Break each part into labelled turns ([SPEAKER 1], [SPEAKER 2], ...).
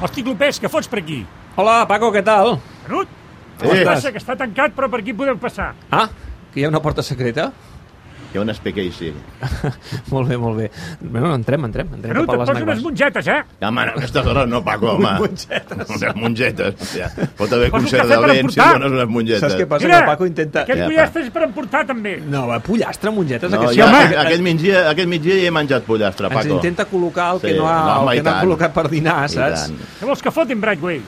[SPEAKER 1] Hosti, Clopés, què fots per aquí?
[SPEAKER 2] Hola, Paco, què tal?
[SPEAKER 1] Canut?
[SPEAKER 3] Eh.
[SPEAKER 1] Eh. Passa que està tancat, però per aquí podem passar.
[SPEAKER 2] Ah, que hi ha una porta secreta?
[SPEAKER 3] Hi ha un espequei, sí.
[SPEAKER 2] Molt bé, molt bé. Bueno, entrem, entrem. entrem
[SPEAKER 1] Canut,
[SPEAKER 2] cap a
[SPEAKER 1] et
[SPEAKER 2] les
[SPEAKER 1] poso
[SPEAKER 2] negres.
[SPEAKER 1] unes mongetes, eh?
[SPEAKER 3] Home, no, a aquestes hores no, Paco, home.
[SPEAKER 2] mongetes.
[SPEAKER 3] Unes mongetes. Ja. Pot haver
[SPEAKER 1] Poso
[SPEAKER 3] concert
[SPEAKER 1] cafè
[SPEAKER 3] de
[SPEAKER 1] per
[SPEAKER 3] vent si
[SPEAKER 1] emportar.
[SPEAKER 3] dones unes mongetes.
[SPEAKER 2] Saps què passa? que el Paco intenta-
[SPEAKER 1] Aquest
[SPEAKER 3] Ja,
[SPEAKER 1] ja,
[SPEAKER 3] va.
[SPEAKER 1] pollastre és per emportar, també.
[SPEAKER 2] No, va, pollastre, mongetes.
[SPEAKER 3] No,
[SPEAKER 2] aquest
[SPEAKER 3] ja,
[SPEAKER 2] home.
[SPEAKER 3] aquest, aquest, migdia, aquest migdia hi he menjat pollastre,
[SPEAKER 2] Ens
[SPEAKER 3] Paco.
[SPEAKER 2] intenta col·locar el que
[SPEAKER 3] Sí,
[SPEAKER 2] no ha,
[SPEAKER 3] no, home,
[SPEAKER 2] el que
[SPEAKER 3] i
[SPEAKER 2] no ha
[SPEAKER 3] tant.
[SPEAKER 2] col·locat per dinar,
[SPEAKER 3] I
[SPEAKER 2] saps?
[SPEAKER 3] tant.
[SPEAKER 1] Què vols que fotin, Bradway?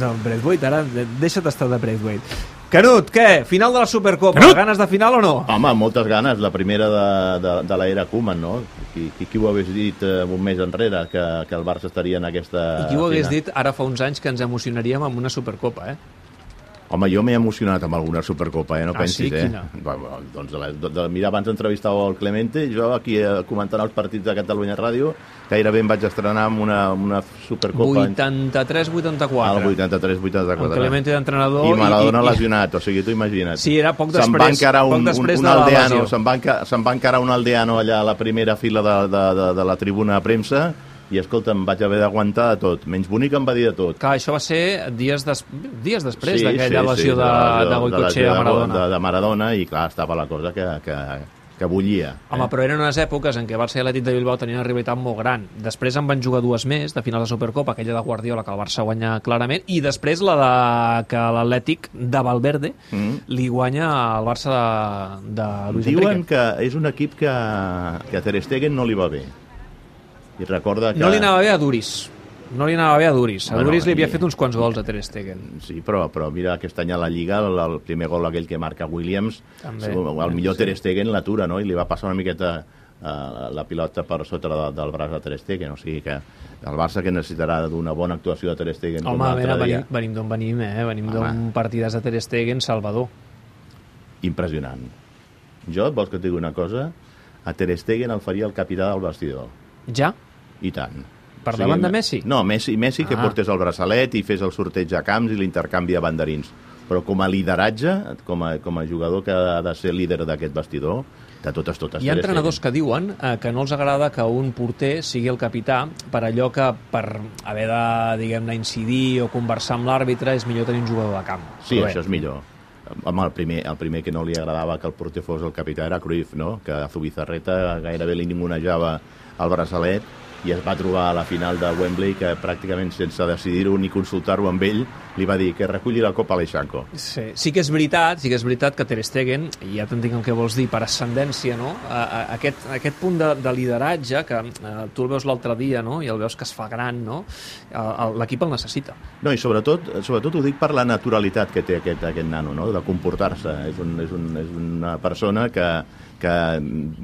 [SPEAKER 2] No, Braithwaite, ara de- deixa't estar de Braithwaite. Canut, què? Final de la Supercopa.
[SPEAKER 1] Canut!
[SPEAKER 2] Ganes de final o no?
[SPEAKER 3] Home, amb moltes ganes, la primera de, de, de l'era Koeman, no? Qui, qui, qui ho hagués dit eh, un mes enrere, que, que el Barça estaria en aquesta...
[SPEAKER 2] I qui ho hagués
[SPEAKER 3] final?
[SPEAKER 2] dit ara fa uns anys que ens emocionaríem amb una Supercopa, eh?
[SPEAKER 3] Home, jo m'he emocionat amb alguna Supercopa, eh? no
[SPEAKER 2] Ah,
[SPEAKER 3] pensis,
[SPEAKER 2] sí?
[SPEAKER 3] eh?
[SPEAKER 2] Quina?
[SPEAKER 3] Bueno, doncs, de la, de, de, mira, abans entrevistava el Clemente, jo aquí eh, comentant els partits de Catalunya Ràdio, gairebé em vaig estrenar amb una, amb una Supercopa...
[SPEAKER 2] 83-84.
[SPEAKER 3] Ah, Al 83-84.
[SPEAKER 2] Amb Clemente d'entrenador
[SPEAKER 3] I Maradona
[SPEAKER 2] i- i-
[SPEAKER 3] lesionat, o sigui, tu imagina't.
[SPEAKER 2] Sí, era poc
[SPEAKER 3] Se'n
[SPEAKER 2] després-
[SPEAKER 3] va encarar
[SPEAKER 2] poc
[SPEAKER 3] un,
[SPEAKER 2] després
[SPEAKER 3] un,
[SPEAKER 2] de
[SPEAKER 3] un
[SPEAKER 2] la
[SPEAKER 3] aldeano,
[SPEAKER 2] lesió.
[SPEAKER 3] se'n va, enca se'n va encarar un aldeano allà a la primera fila de, de, de, de la tribuna a premsa i, escolta, em vaig haver d'aguantar de tot. Menys bonic em va dir de tot.
[SPEAKER 2] Clar, això va ser dies, des... dies després d'aquella lesió de, de,
[SPEAKER 3] la
[SPEAKER 2] Goicoechea
[SPEAKER 3] lesió
[SPEAKER 2] a
[SPEAKER 3] de-
[SPEAKER 2] Maradona.
[SPEAKER 3] De, de Maradona, i clar, estava la cosa que, que, que bullia.
[SPEAKER 2] Home, però eren unes èpoques en què Barça i l'Atlètic de Bilbao tenien una rivalitat molt gran. Després en van jugar dues més, de final de Supercopa, aquella de Guardiola, que el Barça guanya clarament, i després la de que l'Atlètic de Valverde li guanya al Barça de, de Luis
[SPEAKER 3] Mm. Diuen
[SPEAKER 2] Enrique.
[SPEAKER 3] que és un equip que, que a Ter Stegen no li va bé. I recorda que...
[SPEAKER 2] No li anava bé a Duris. No li anava bé a Duris. A
[SPEAKER 3] Bueno,
[SPEAKER 2] Duris li havia
[SPEAKER 3] i-
[SPEAKER 2] fet uns quants gols a Ter Stegen.
[SPEAKER 3] Sí, però, però mira, aquest any a la Lliga, el, el primer gol aquell que marca Williams,
[SPEAKER 2] També.
[SPEAKER 3] També. el millor Ter Stegen l'atura, no? I li va passar una miqueta eh, la pilota per sota de, del braç de Ter Stegen, o sigui que el Barça que necessitarà d'una bona actuació de Ter Stegen com
[SPEAKER 2] Home, a
[SPEAKER 3] l'altre
[SPEAKER 2] veure,
[SPEAKER 3] dia.
[SPEAKER 2] venim, venim d'on venim, eh? Venim
[SPEAKER 3] Home.
[SPEAKER 2] d'un partidàs de Ter Stegen, Salvador.
[SPEAKER 3] Impressionant. Jo, vols que et digui una cosa? A Ter Stegen el faria el capità del vestidor.
[SPEAKER 2] Ja?
[SPEAKER 3] I tant.
[SPEAKER 2] Per davant de Messi?
[SPEAKER 3] No, Messi, Messi que
[SPEAKER 2] Ah.
[SPEAKER 3] portés el braçalet i fes el sorteig a camps i l'intercanvi a banderins. Però com a lideratge, com a, com a jugador que ha de ser líder d'aquest vestidor, de totes, totes.
[SPEAKER 2] Hi ha
[SPEAKER 3] Ter Stegen.
[SPEAKER 2] entrenadors que diuen eh, que no els agrada que un porter sigui el capità per allò que per haver de, diguem-ne, incidir o conversar amb l'àrbitre és millor tenir un jugador de camp.
[SPEAKER 3] Sí, això és millor. Home, el primer, el primer que no li agradava que el porter fos el capità era Cruyff, no? que a Zubizarreta gairebé li ningunejava el braçalet i es va trobar a la final de Wembley que pràcticament sense decidir-ho ni consultar-ho amb ell li va dir que reculli la copa a l'Eixanco.
[SPEAKER 2] Sí. sí que és veritat, sí que és veritat que Ter Stegen, i ja t'entenc el que vols dir, per ascendència, no? A, a, aquest, aquest punt de, de lideratge que eh, tu el veus l'altre dia, no? I el veus que es fa gran, no? Eh, el- L'equip el necessita.
[SPEAKER 3] No, i sobretot, sobretot ho dic per la naturalitat que té aquest, aquest nano, no? de comportar-se. És, un, és, un, és una persona que, que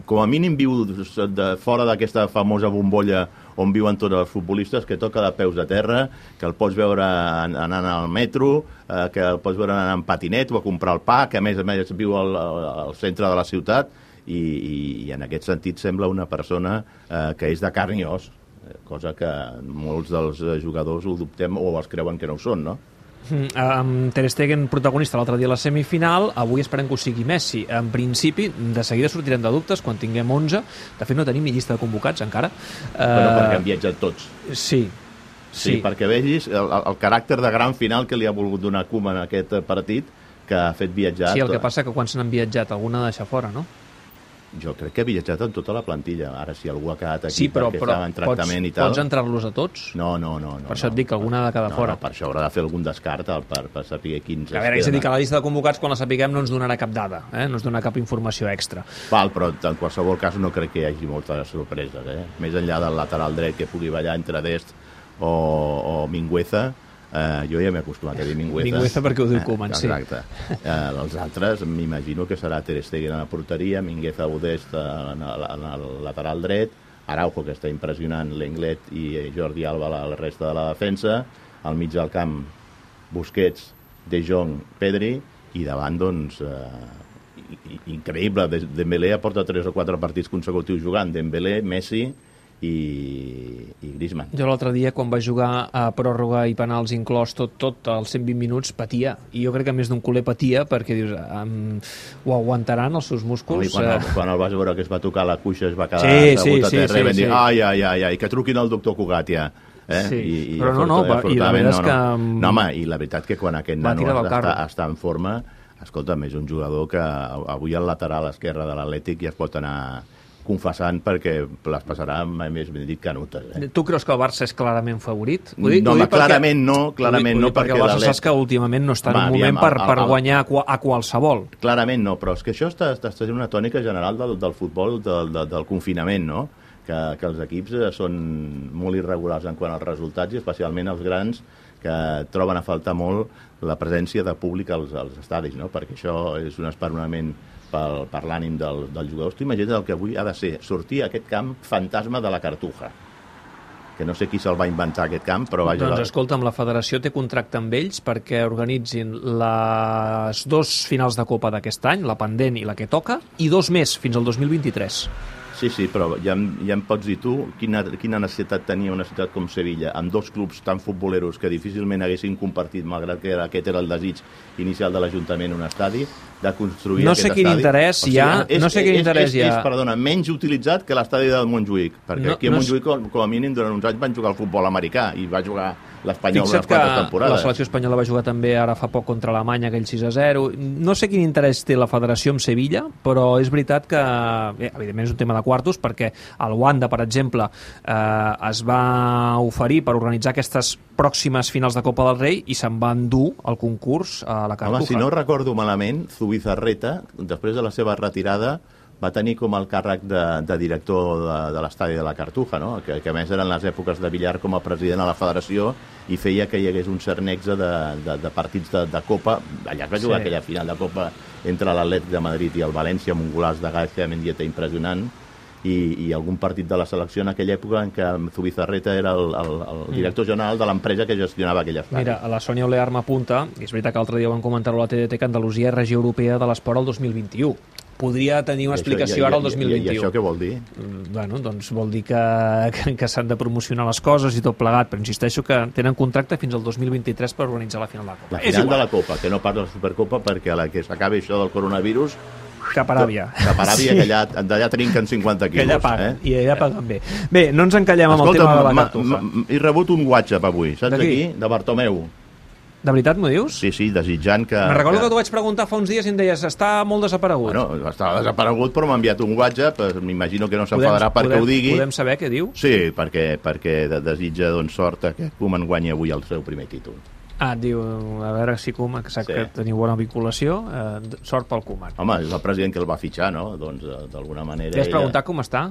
[SPEAKER 3] com a mínim viu de, fora d'aquesta famosa bombolla on viuen tots els futbolistes, que toca de peus de terra, que el pots veure an- anant al metro, eh, que el pots veure anant en patinet o a comprar el pa, que a més a més viu al, al al centre de la ciutat, i, i, i en aquest sentit sembla una persona eh, que és de carn i os eh, cosa que molts dels eh, jugadors ho dubtem o es creuen que no ho són, no?
[SPEAKER 2] Mm, amb Ter Stegen protagonista l'altre dia a la semifinal, avui esperem que ho sigui Messi. En principi, de seguida sortirem de dubtes quan tinguem 11. De fet, no tenim ni llista de convocats encara. Uh,
[SPEAKER 3] Bueno, perquè han viatjat tots.
[SPEAKER 2] Sí, sí.
[SPEAKER 3] Sí. perquè vegis el, el- el caràcter de gran final que li ha volgut donar Koeman en aquest eh, partit, que ha fet viatjar...
[SPEAKER 2] Sí, el que
[SPEAKER 3] to-
[SPEAKER 2] passa que quan se n'han viatjat alguna ha de deixar fora, no?
[SPEAKER 3] Jo crec que ha viatjat amb tota la plantilla. Ara, si algú ha quedat aquí
[SPEAKER 2] sí, però,
[SPEAKER 3] perquè
[SPEAKER 2] però
[SPEAKER 3] estava en
[SPEAKER 2] pots,
[SPEAKER 3] tractament i tal...
[SPEAKER 2] pots entrar-los a tots?
[SPEAKER 3] No, no, no, no.
[SPEAKER 2] Per això
[SPEAKER 3] no.
[SPEAKER 2] et dic que alguna ha de quedar
[SPEAKER 3] no,
[SPEAKER 2] fora.
[SPEAKER 3] No, per això haurà de fer algun descart eh, per, per saber quins...
[SPEAKER 2] A
[SPEAKER 3] es
[SPEAKER 2] veure, és a
[SPEAKER 3] queden.
[SPEAKER 2] dir, que la llista de convocats, quan la sapiguem, no ens donarà cap dada, eh? no ens donarà cap informació extra.
[SPEAKER 3] Val, però en qualsevol cas no crec que hi hagi moltes sorpreses, eh? Més enllà del lateral dret que pugui ballar entre Dest o, o Mingueza, eh, jo ja m'he acostumat a dir Mingueza.
[SPEAKER 2] Mingueza perquè ho diu Koeman, sí.
[SPEAKER 3] eh. Exacte. Eh, els altres m'imagino que serà Ter Stegen a la porteria, Mingueza o Dest en, el- en el lateral dret, Araujo, que està impressionant, l'Englet i eh, Jordi Alba la, la resta de la defensa, al mig del camp Busquets, De Jong, Pedri, i davant, doncs, eh, i- i- increïble. De- Dembélé aporta tres o quatre partits consecutius jugant. Dembélé, Messi i, i Griezmann.
[SPEAKER 2] Jo l'altre dia, quan va jugar a pròrroga i penals inclòs tot, tot els 120 minuts, patia. I jo crec que més d'un culer patia perquè dius, um, ho aguantaran els seus
[SPEAKER 3] Home, i
[SPEAKER 2] músculs?
[SPEAKER 3] quan, el,
[SPEAKER 2] Eh,
[SPEAKER 3] quan el vas veure que es va tocar la cuixa es va quedar
[SPEAKER 2] Sí, sí,
[SPEAKER 3] assegut a
[SPEAKER 2] sí,
[SPEAKER 3] terra i
[SPEAKER 2] sí,
[SPEAKER 3] van dir
[SPEAKER 2] sí.
[SPEAKER 3] ai, ai, ai, ai, que truquin al doctor Cugat ja. Eh?
[SPEAKER 2] Sí, però no, no, va- i la
[SPEAKER 3] afortunadament
[SPEAKER 2] veritat és que, mm,
[SPEAKER 3] No, home, i la veritat que quan aquest
[SPEAKER 2] va
[SPEAKER 3] nano
[SPEAKER 2] tirar del
[SPEAKER 3] està,
[SPEAKER 2] carro.
[SPEAKER 3] està en forma, escolta, és un jugador que av- avui al lateral esquerre de l'Atlètic ja es pot anar confessant perquè les passarà mai més ben dit canutes. Eh?
[SPEAKER 2] Tu creus que el Barça és clarament favorit?
[SPEAKER 3] No, home, clarament no, clarament
[SPEAKER 2] ho dic,
[SPEAKER 3] no,
[SPEAKER 2] perquè,
[SPEAKER 3] perquè
[SPEAKER 2] el Barça
[SPEAKER 3] l'Atlètic-
[SPEAKER 2] saps que últimament no està en
[SPEAKER 3] Home,
[SPEAKER 2] un moment
[SPEAKER 3] aviam,
[SPEAKER 2] per,
[SPEAKER 3] el-
[SPEAKER 2] per
[SPEAKER 3] el-
[SPEAKER 2] guanyar a, qua- a qualsevol.
[SPEAKER 3] Clarament no, però és que això està, està sent una tònica general del, del futbol, del, del, del confinament, no? Que, que els equips eh, són molt irregulars en quant als resultats i especialment els grans que troben a faltar molt la presència de públic als, als estadis, no? Perquè això és un esperonament pel, per l'ànim del, dels jugadors. Tu imagina't el que avui ha de ser sortir a aquest camp fantasma de la Cartuja que no sé qui se'l va inventar aquest camp, però vaja...
[SPEAKER 2] Doncs escolta'm, la federació té contracte amb ells perquè organitzin les dos finals de Copa d'aquest any, la pendent i la que toca, i dos més, fins al 2023.
[SPEAKER 3] Sí, sí, però ja, em- ja em pots dir tu quina, quina necessitat tenia una ciutat com Sevilla, amb dos clubs tan futboleros que difícilment haguessin compartit, malgrat que era, aquest era el desig inicial de l'Ajuntament, un estadi, de construir
[SPEAKER 2] No sé
[SPEAKER 3] aquest
[SPEAKER 2] quin
[SPEAKER 3] estadi.
[SPEAKER 2] interès hi ha, no sé quin
[SPEAKER 3] és,
[SPEAKER 2] interès
[SPEAKER 3] és,
[SPEAKER 2] hi ha.
[SPEAKER 3] És, perdona, menys utilitzat que l'estadi del Montjuïc, perquè
[SPEAKER 2] No-
[SPEAKER 3] no, aquí a
[SPEAKER 2] no és-
[SPEAKER 3] Montjuïc, com, com a mínim, durant uns anys van jugar al futbol americà i va jugar l'Espanyol unes
[SPEAKER 2] Fixa't que
[SPEAKER 3] quantes
[SPEAKER 2] la
[SPEAKER 3] temporades.
[SPEAKER 2] selecció espanyola va jugar també ara fa poc contra Alemanya, aquell 6 a 0. No sé quin interès té la federació amb Sevilla, però és veritat que, bé, evidentment és un tema de quartos, perquè el Wanda, per exemple, eh, es va oferir per organitzar aquestes pròximes finals de Copa del Rei i se'n va endur el concurs a la Cartuja.
[SPEAKER 3] Home, si no recordo malament, Zubizarreta, després de la seva retirada, va tenir com el càrrec de, de director de, de l'estadi de la Cartuja, no? que, que a més eren les èpoques de Villar com a president a la federació i feia que hi hagués un cert nexe de, de, de partits de, de Copa. Allà es va jugar
[SPEAKER 2] Sí.
[SPEAKER 3] sí. aquella final de Copa entre l'Atlètic de Madrid i el València amb un golaç de García Mendieta impressionant i, i algun partit de la selecció en aquella època en què Zubizarreta era el, el, el director general de l'empresa que gestionava aquell estadi.
[SPEAKER 2] Mm. Mira, la Sònia Olear m'apunta, i és veritat que l'altre dia van comentar-ho a la TDT, que Andalusia és regió europea de l'esport el 2021. Podria tenir una
[SPEAKER 3] I això-
[SPEAKER 2] explicació ara al
[SPEAKER 3] I, i, i
[SPEAKER 2] 2021.
[SPEAKER 3] això què vol dir?
[SPEAKER 2] Mm, bueno, doncs vol dir que, que, que s'han de promocionar les coses i tot plegat, però insisteixo que tenen contracte fins al 2023 per organitzar la final de la Copa.
[SPEAKER 3] La final de la Copa, que no parla de la Supercopa perquè a la que s'acabi això del coronavirus...
[SPEAKER 2] Cap a Aràbia.
[SPEAKER 3] Cap a Aràbia, que allà, d'allà trinquen 50
[SPEAKER 2] que
[SPEAKER 3] quilos.
[SPEAKER 2] allà paguen,
[SPEAKER 3] Eh?
[SPEAKER 2] i allà paguen bé. Bé, no ens encallem amb
[SPEAKER 3] Escolta,
[SPEAKER 2] el tema de la
[SPEAKER 3] m'ha-
[SPEAKER 2] cartufa.
[SPEAKER 3] m'ha- he rebut un WhatsApp avui, saps
[SPEAKER 2] De qui?
[SPEAKER 3] d'aquí? De Bartomeu.
[SPEAKER 2] De veritat m'ho dius?
[SPEAKER 3] Sí, sí, desitjant que...
[SPEAKER 2] Me recordo que t'ho vaig preguntar fa uns dies i em deies, està molt desaparegut.
[SPEAKER 3] Bueno, estava desaparegut, però m'ha enviat un WhatsApp. eh, M'imagino que no s'enfadarà perquè
[SPEAKER 2] podem,
[SPEAKER 3] ho digui.
[SPEAKER 2] Podem saber què diu?
[SPEAKER 3] Sí, perquè, perquè de- desitja doncs, sort que Koeman guanyi avui el seu primer títol.
[SPEAKER 2] Ah, et diu, a veure si Koeman, que sap
[SPEAKER 3] Sí.
[SPEAKER 2] que teniu bona vinculació, eh, d- sort pel Koeman.
[SPEAKER 3] Home, és el president que el va fitxar, no? Doncs, eh, d'alguna manera...
[SPEAKER 2] Li has
[SPEAKER 3] ella-
[SPEAKER 2] preguntat com està?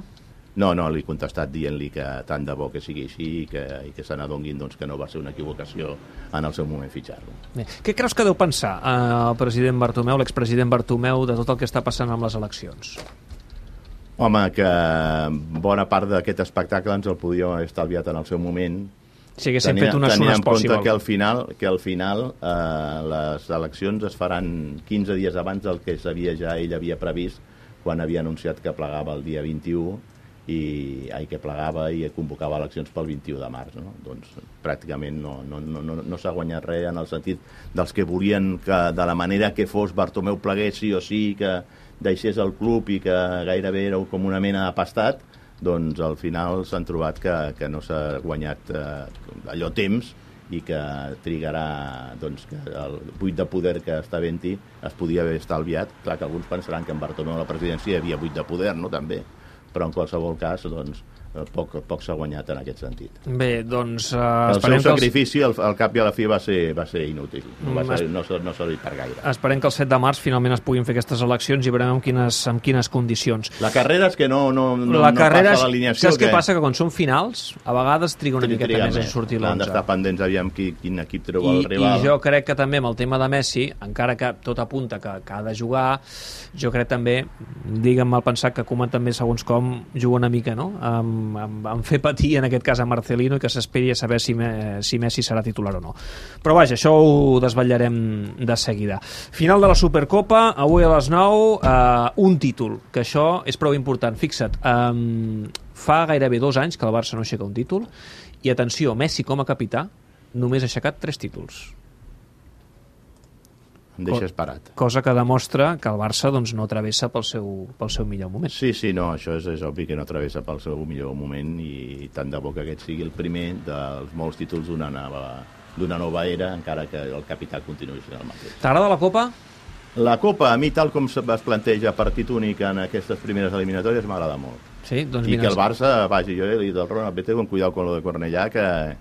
[SPEAKER 3] No, no, li he contestat dient-li que tant de bo que sigui així i que, i que se n'adonguin doncs, que no va ser una equivocació en el seu moment fitxar-lo.
[SPEAKER 2] Bé, Què creus que deu pensar eh, el president Bartomeu, l'expresident Bartomeu, de tot el que està passant amb les eleccions?
[SPEAKER 3] Home, que bona part d'aquest espectacle ens el podíem haver estalviat en el seu moment,
[SPEAKER 2] Si haguessin fet unes
[SPEAKER 3] tenint
[SPEAKER 2] unes
[SPEAKER 3] en compte
[SPEAKER 2] possibles.
[SPEAKER 3] que al final, que al final eh, les eleccions es faran 15 dies abans del que sabia ja ell havia previst quan havia anunciat que plegava el dia 21 i ai, que plegava i convocava eleccions pel 21 de març. No? Doncs pràcticament no, no, no, no, no s'ha guanyat res en el sentit dels que volien que de la manera que fos Bartomeu plegués sí o sí, que deixés el club i que gairebé era com una mena de pastat, doncs al final s'han trobat que, que no s'ha guanyat eh, allò temps i que trigarà doncs, que el buit de poder que està venti es podia haver estalviat. Clar que alguns pensaran que en Bartomeu a la presidència hi havia buit de poder, no?, també. Però en qualsevol cas, doncs, eh, poc, poc s'ha guanyat en aquest sentit.
[SPEAKER 2] Bé, doncs eh,
[SPEAKER 3] El seu
[SPEAKER 2] esperem, que els,
[SPEAKER 3] sacrifici, al, al cap i a la fi, va ser, va ser inútil. No, va
[SPEAKER 2] Mm,
[SPEAKER 3] ser, no, s'ha- no s'ha dit per gaire.
[SPEAKER 2] esperem que el 7 de març finalment es puguin fer aquestes eleccions i veurem amb quines, amb quines condicions.
[SPEAKER 3] La carrera és que no, no, no,
[SPEAKER 2] la
[SPEAKER 3] no
[SPEAKER 2] carrera,
[SPEAKER 3] passa l'alineació.
[SPEAKER 2] saps què
[SPEAKER 3] que-
[SPEAKER 2] passa? Que quan són finals, a vegades triga una miqueta
[SPEAKER 3] triga
[SPEAKER 2] més a sortir
[SPEAKER 3] Han
[SPEAKER 2] l'11.
[SPEAKER 3] d'estar pendents, aviam qui, quin equip treu
[SPEAKER 2] I,
[SPEAKER 3] el rival.
[SPEAKER 2] I jo crec que també amb el tema de Messi, encara que tot apunta que, que ha de jugar, jo crec també, digue'm mal pensat, que Koeman també, segons com, juga una mica, no? Amb, amb, amb fer patir, en aquest cas, a Marcelino i que s'esperi a saber si, me, si Messi serà titular o no. Però vaja, això ho desvetllarem de seguida. Final de la Supercopa, avui a les 9, eh, un títol, que això és prou important. Fixa't, eh, fa gairebé dos anys que el Barça no aixeca un títol, i atenció, Messi com a capità només ha aixecat tres títols.
[SPEAKER 3] Em deixes parat.
[SPEAKER 2] Cosa que demostra que el Barça doncs, no travessa pel seu, pel seu millor moment.
[SPEAKER 3] Sí, sí, no, això és, és obvi que no travessa pel seu millor moment i tant de bo que aquest sigui el primer dels molts títols d'una nova, d'una nova era, encara que el capità continuï sent el mateix.
[SPEAKER 2] T'agrada la Copa?
[SPEAKER 3] La Copa, a mi, tal com se- es planteja partit únic en aquestes primeres eliminatòries, m'agrada molt.
[SPEAKER 2] Sí, doncs
[SPEAKER 3] I
[SPEAKER 2] mira,
[SPEAKER 3] que el Barça vagi, jo li he dit al Ronald, vete con cuidado con lo de Cornellà, que,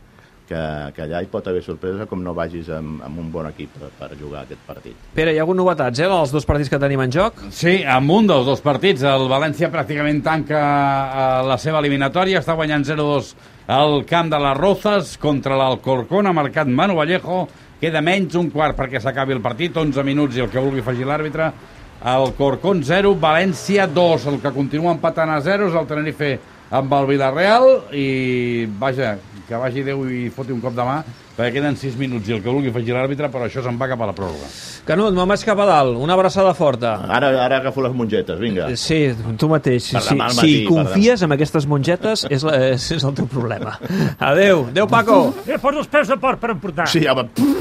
[SPEAKER 3] que, que allà hi pot haver sorpresa com no vagis amb, amb un bon equip per, per jugar aquest partit.
[SPEAKER 2] Pere, hi ha hagut novetats, eh, dels dos partits que tenim en joc?
[SPEAKER 4] Sí, amb un dels dos partits. El València pràcticament tanca eh, la seva eliminatòria. Està guanyant 0-2 al camp de les Rozas contra l'Alcorcón. Ha marcat Manu Vallejo. Queda menys un quart perquè s'acabi el partit. 11 minuts i el que vulgui afegir l'àrbitre. Alcorcón 0, València 2. El que continua empatant a 0 és el Tenerife amb el Villarreal i, vaja, que vagi Déu i foti un cop de mà perquè queden 6 minuts i el que vulgui afegir l'àrbitre, però això se'n va cap a la pròrroga.
[SPEAKER 2] Canut, me'n vaig cap a dalt. Una abraçada forta. Eh,
[SPEAKER 3] Ara, ara agafo les mongetes, vinga.
[SPEAKER 2] Sí, tu mateix.
[SPEAKER 3] Ah, Per
[SPEAKER 2] si,
[SPEAKER 3] demà al
[SPEAKER 2] si
[SPEAKER 3] matí, per
[SPEAKER 2] confies en aquestes mongetes, és, la, és, és el teu problema. Adeu. Adeu, Paco.
[SPEAKER 1] Eh, posa els peus de porc per emportar.
[SPEAKER 3] Sí, home, pff,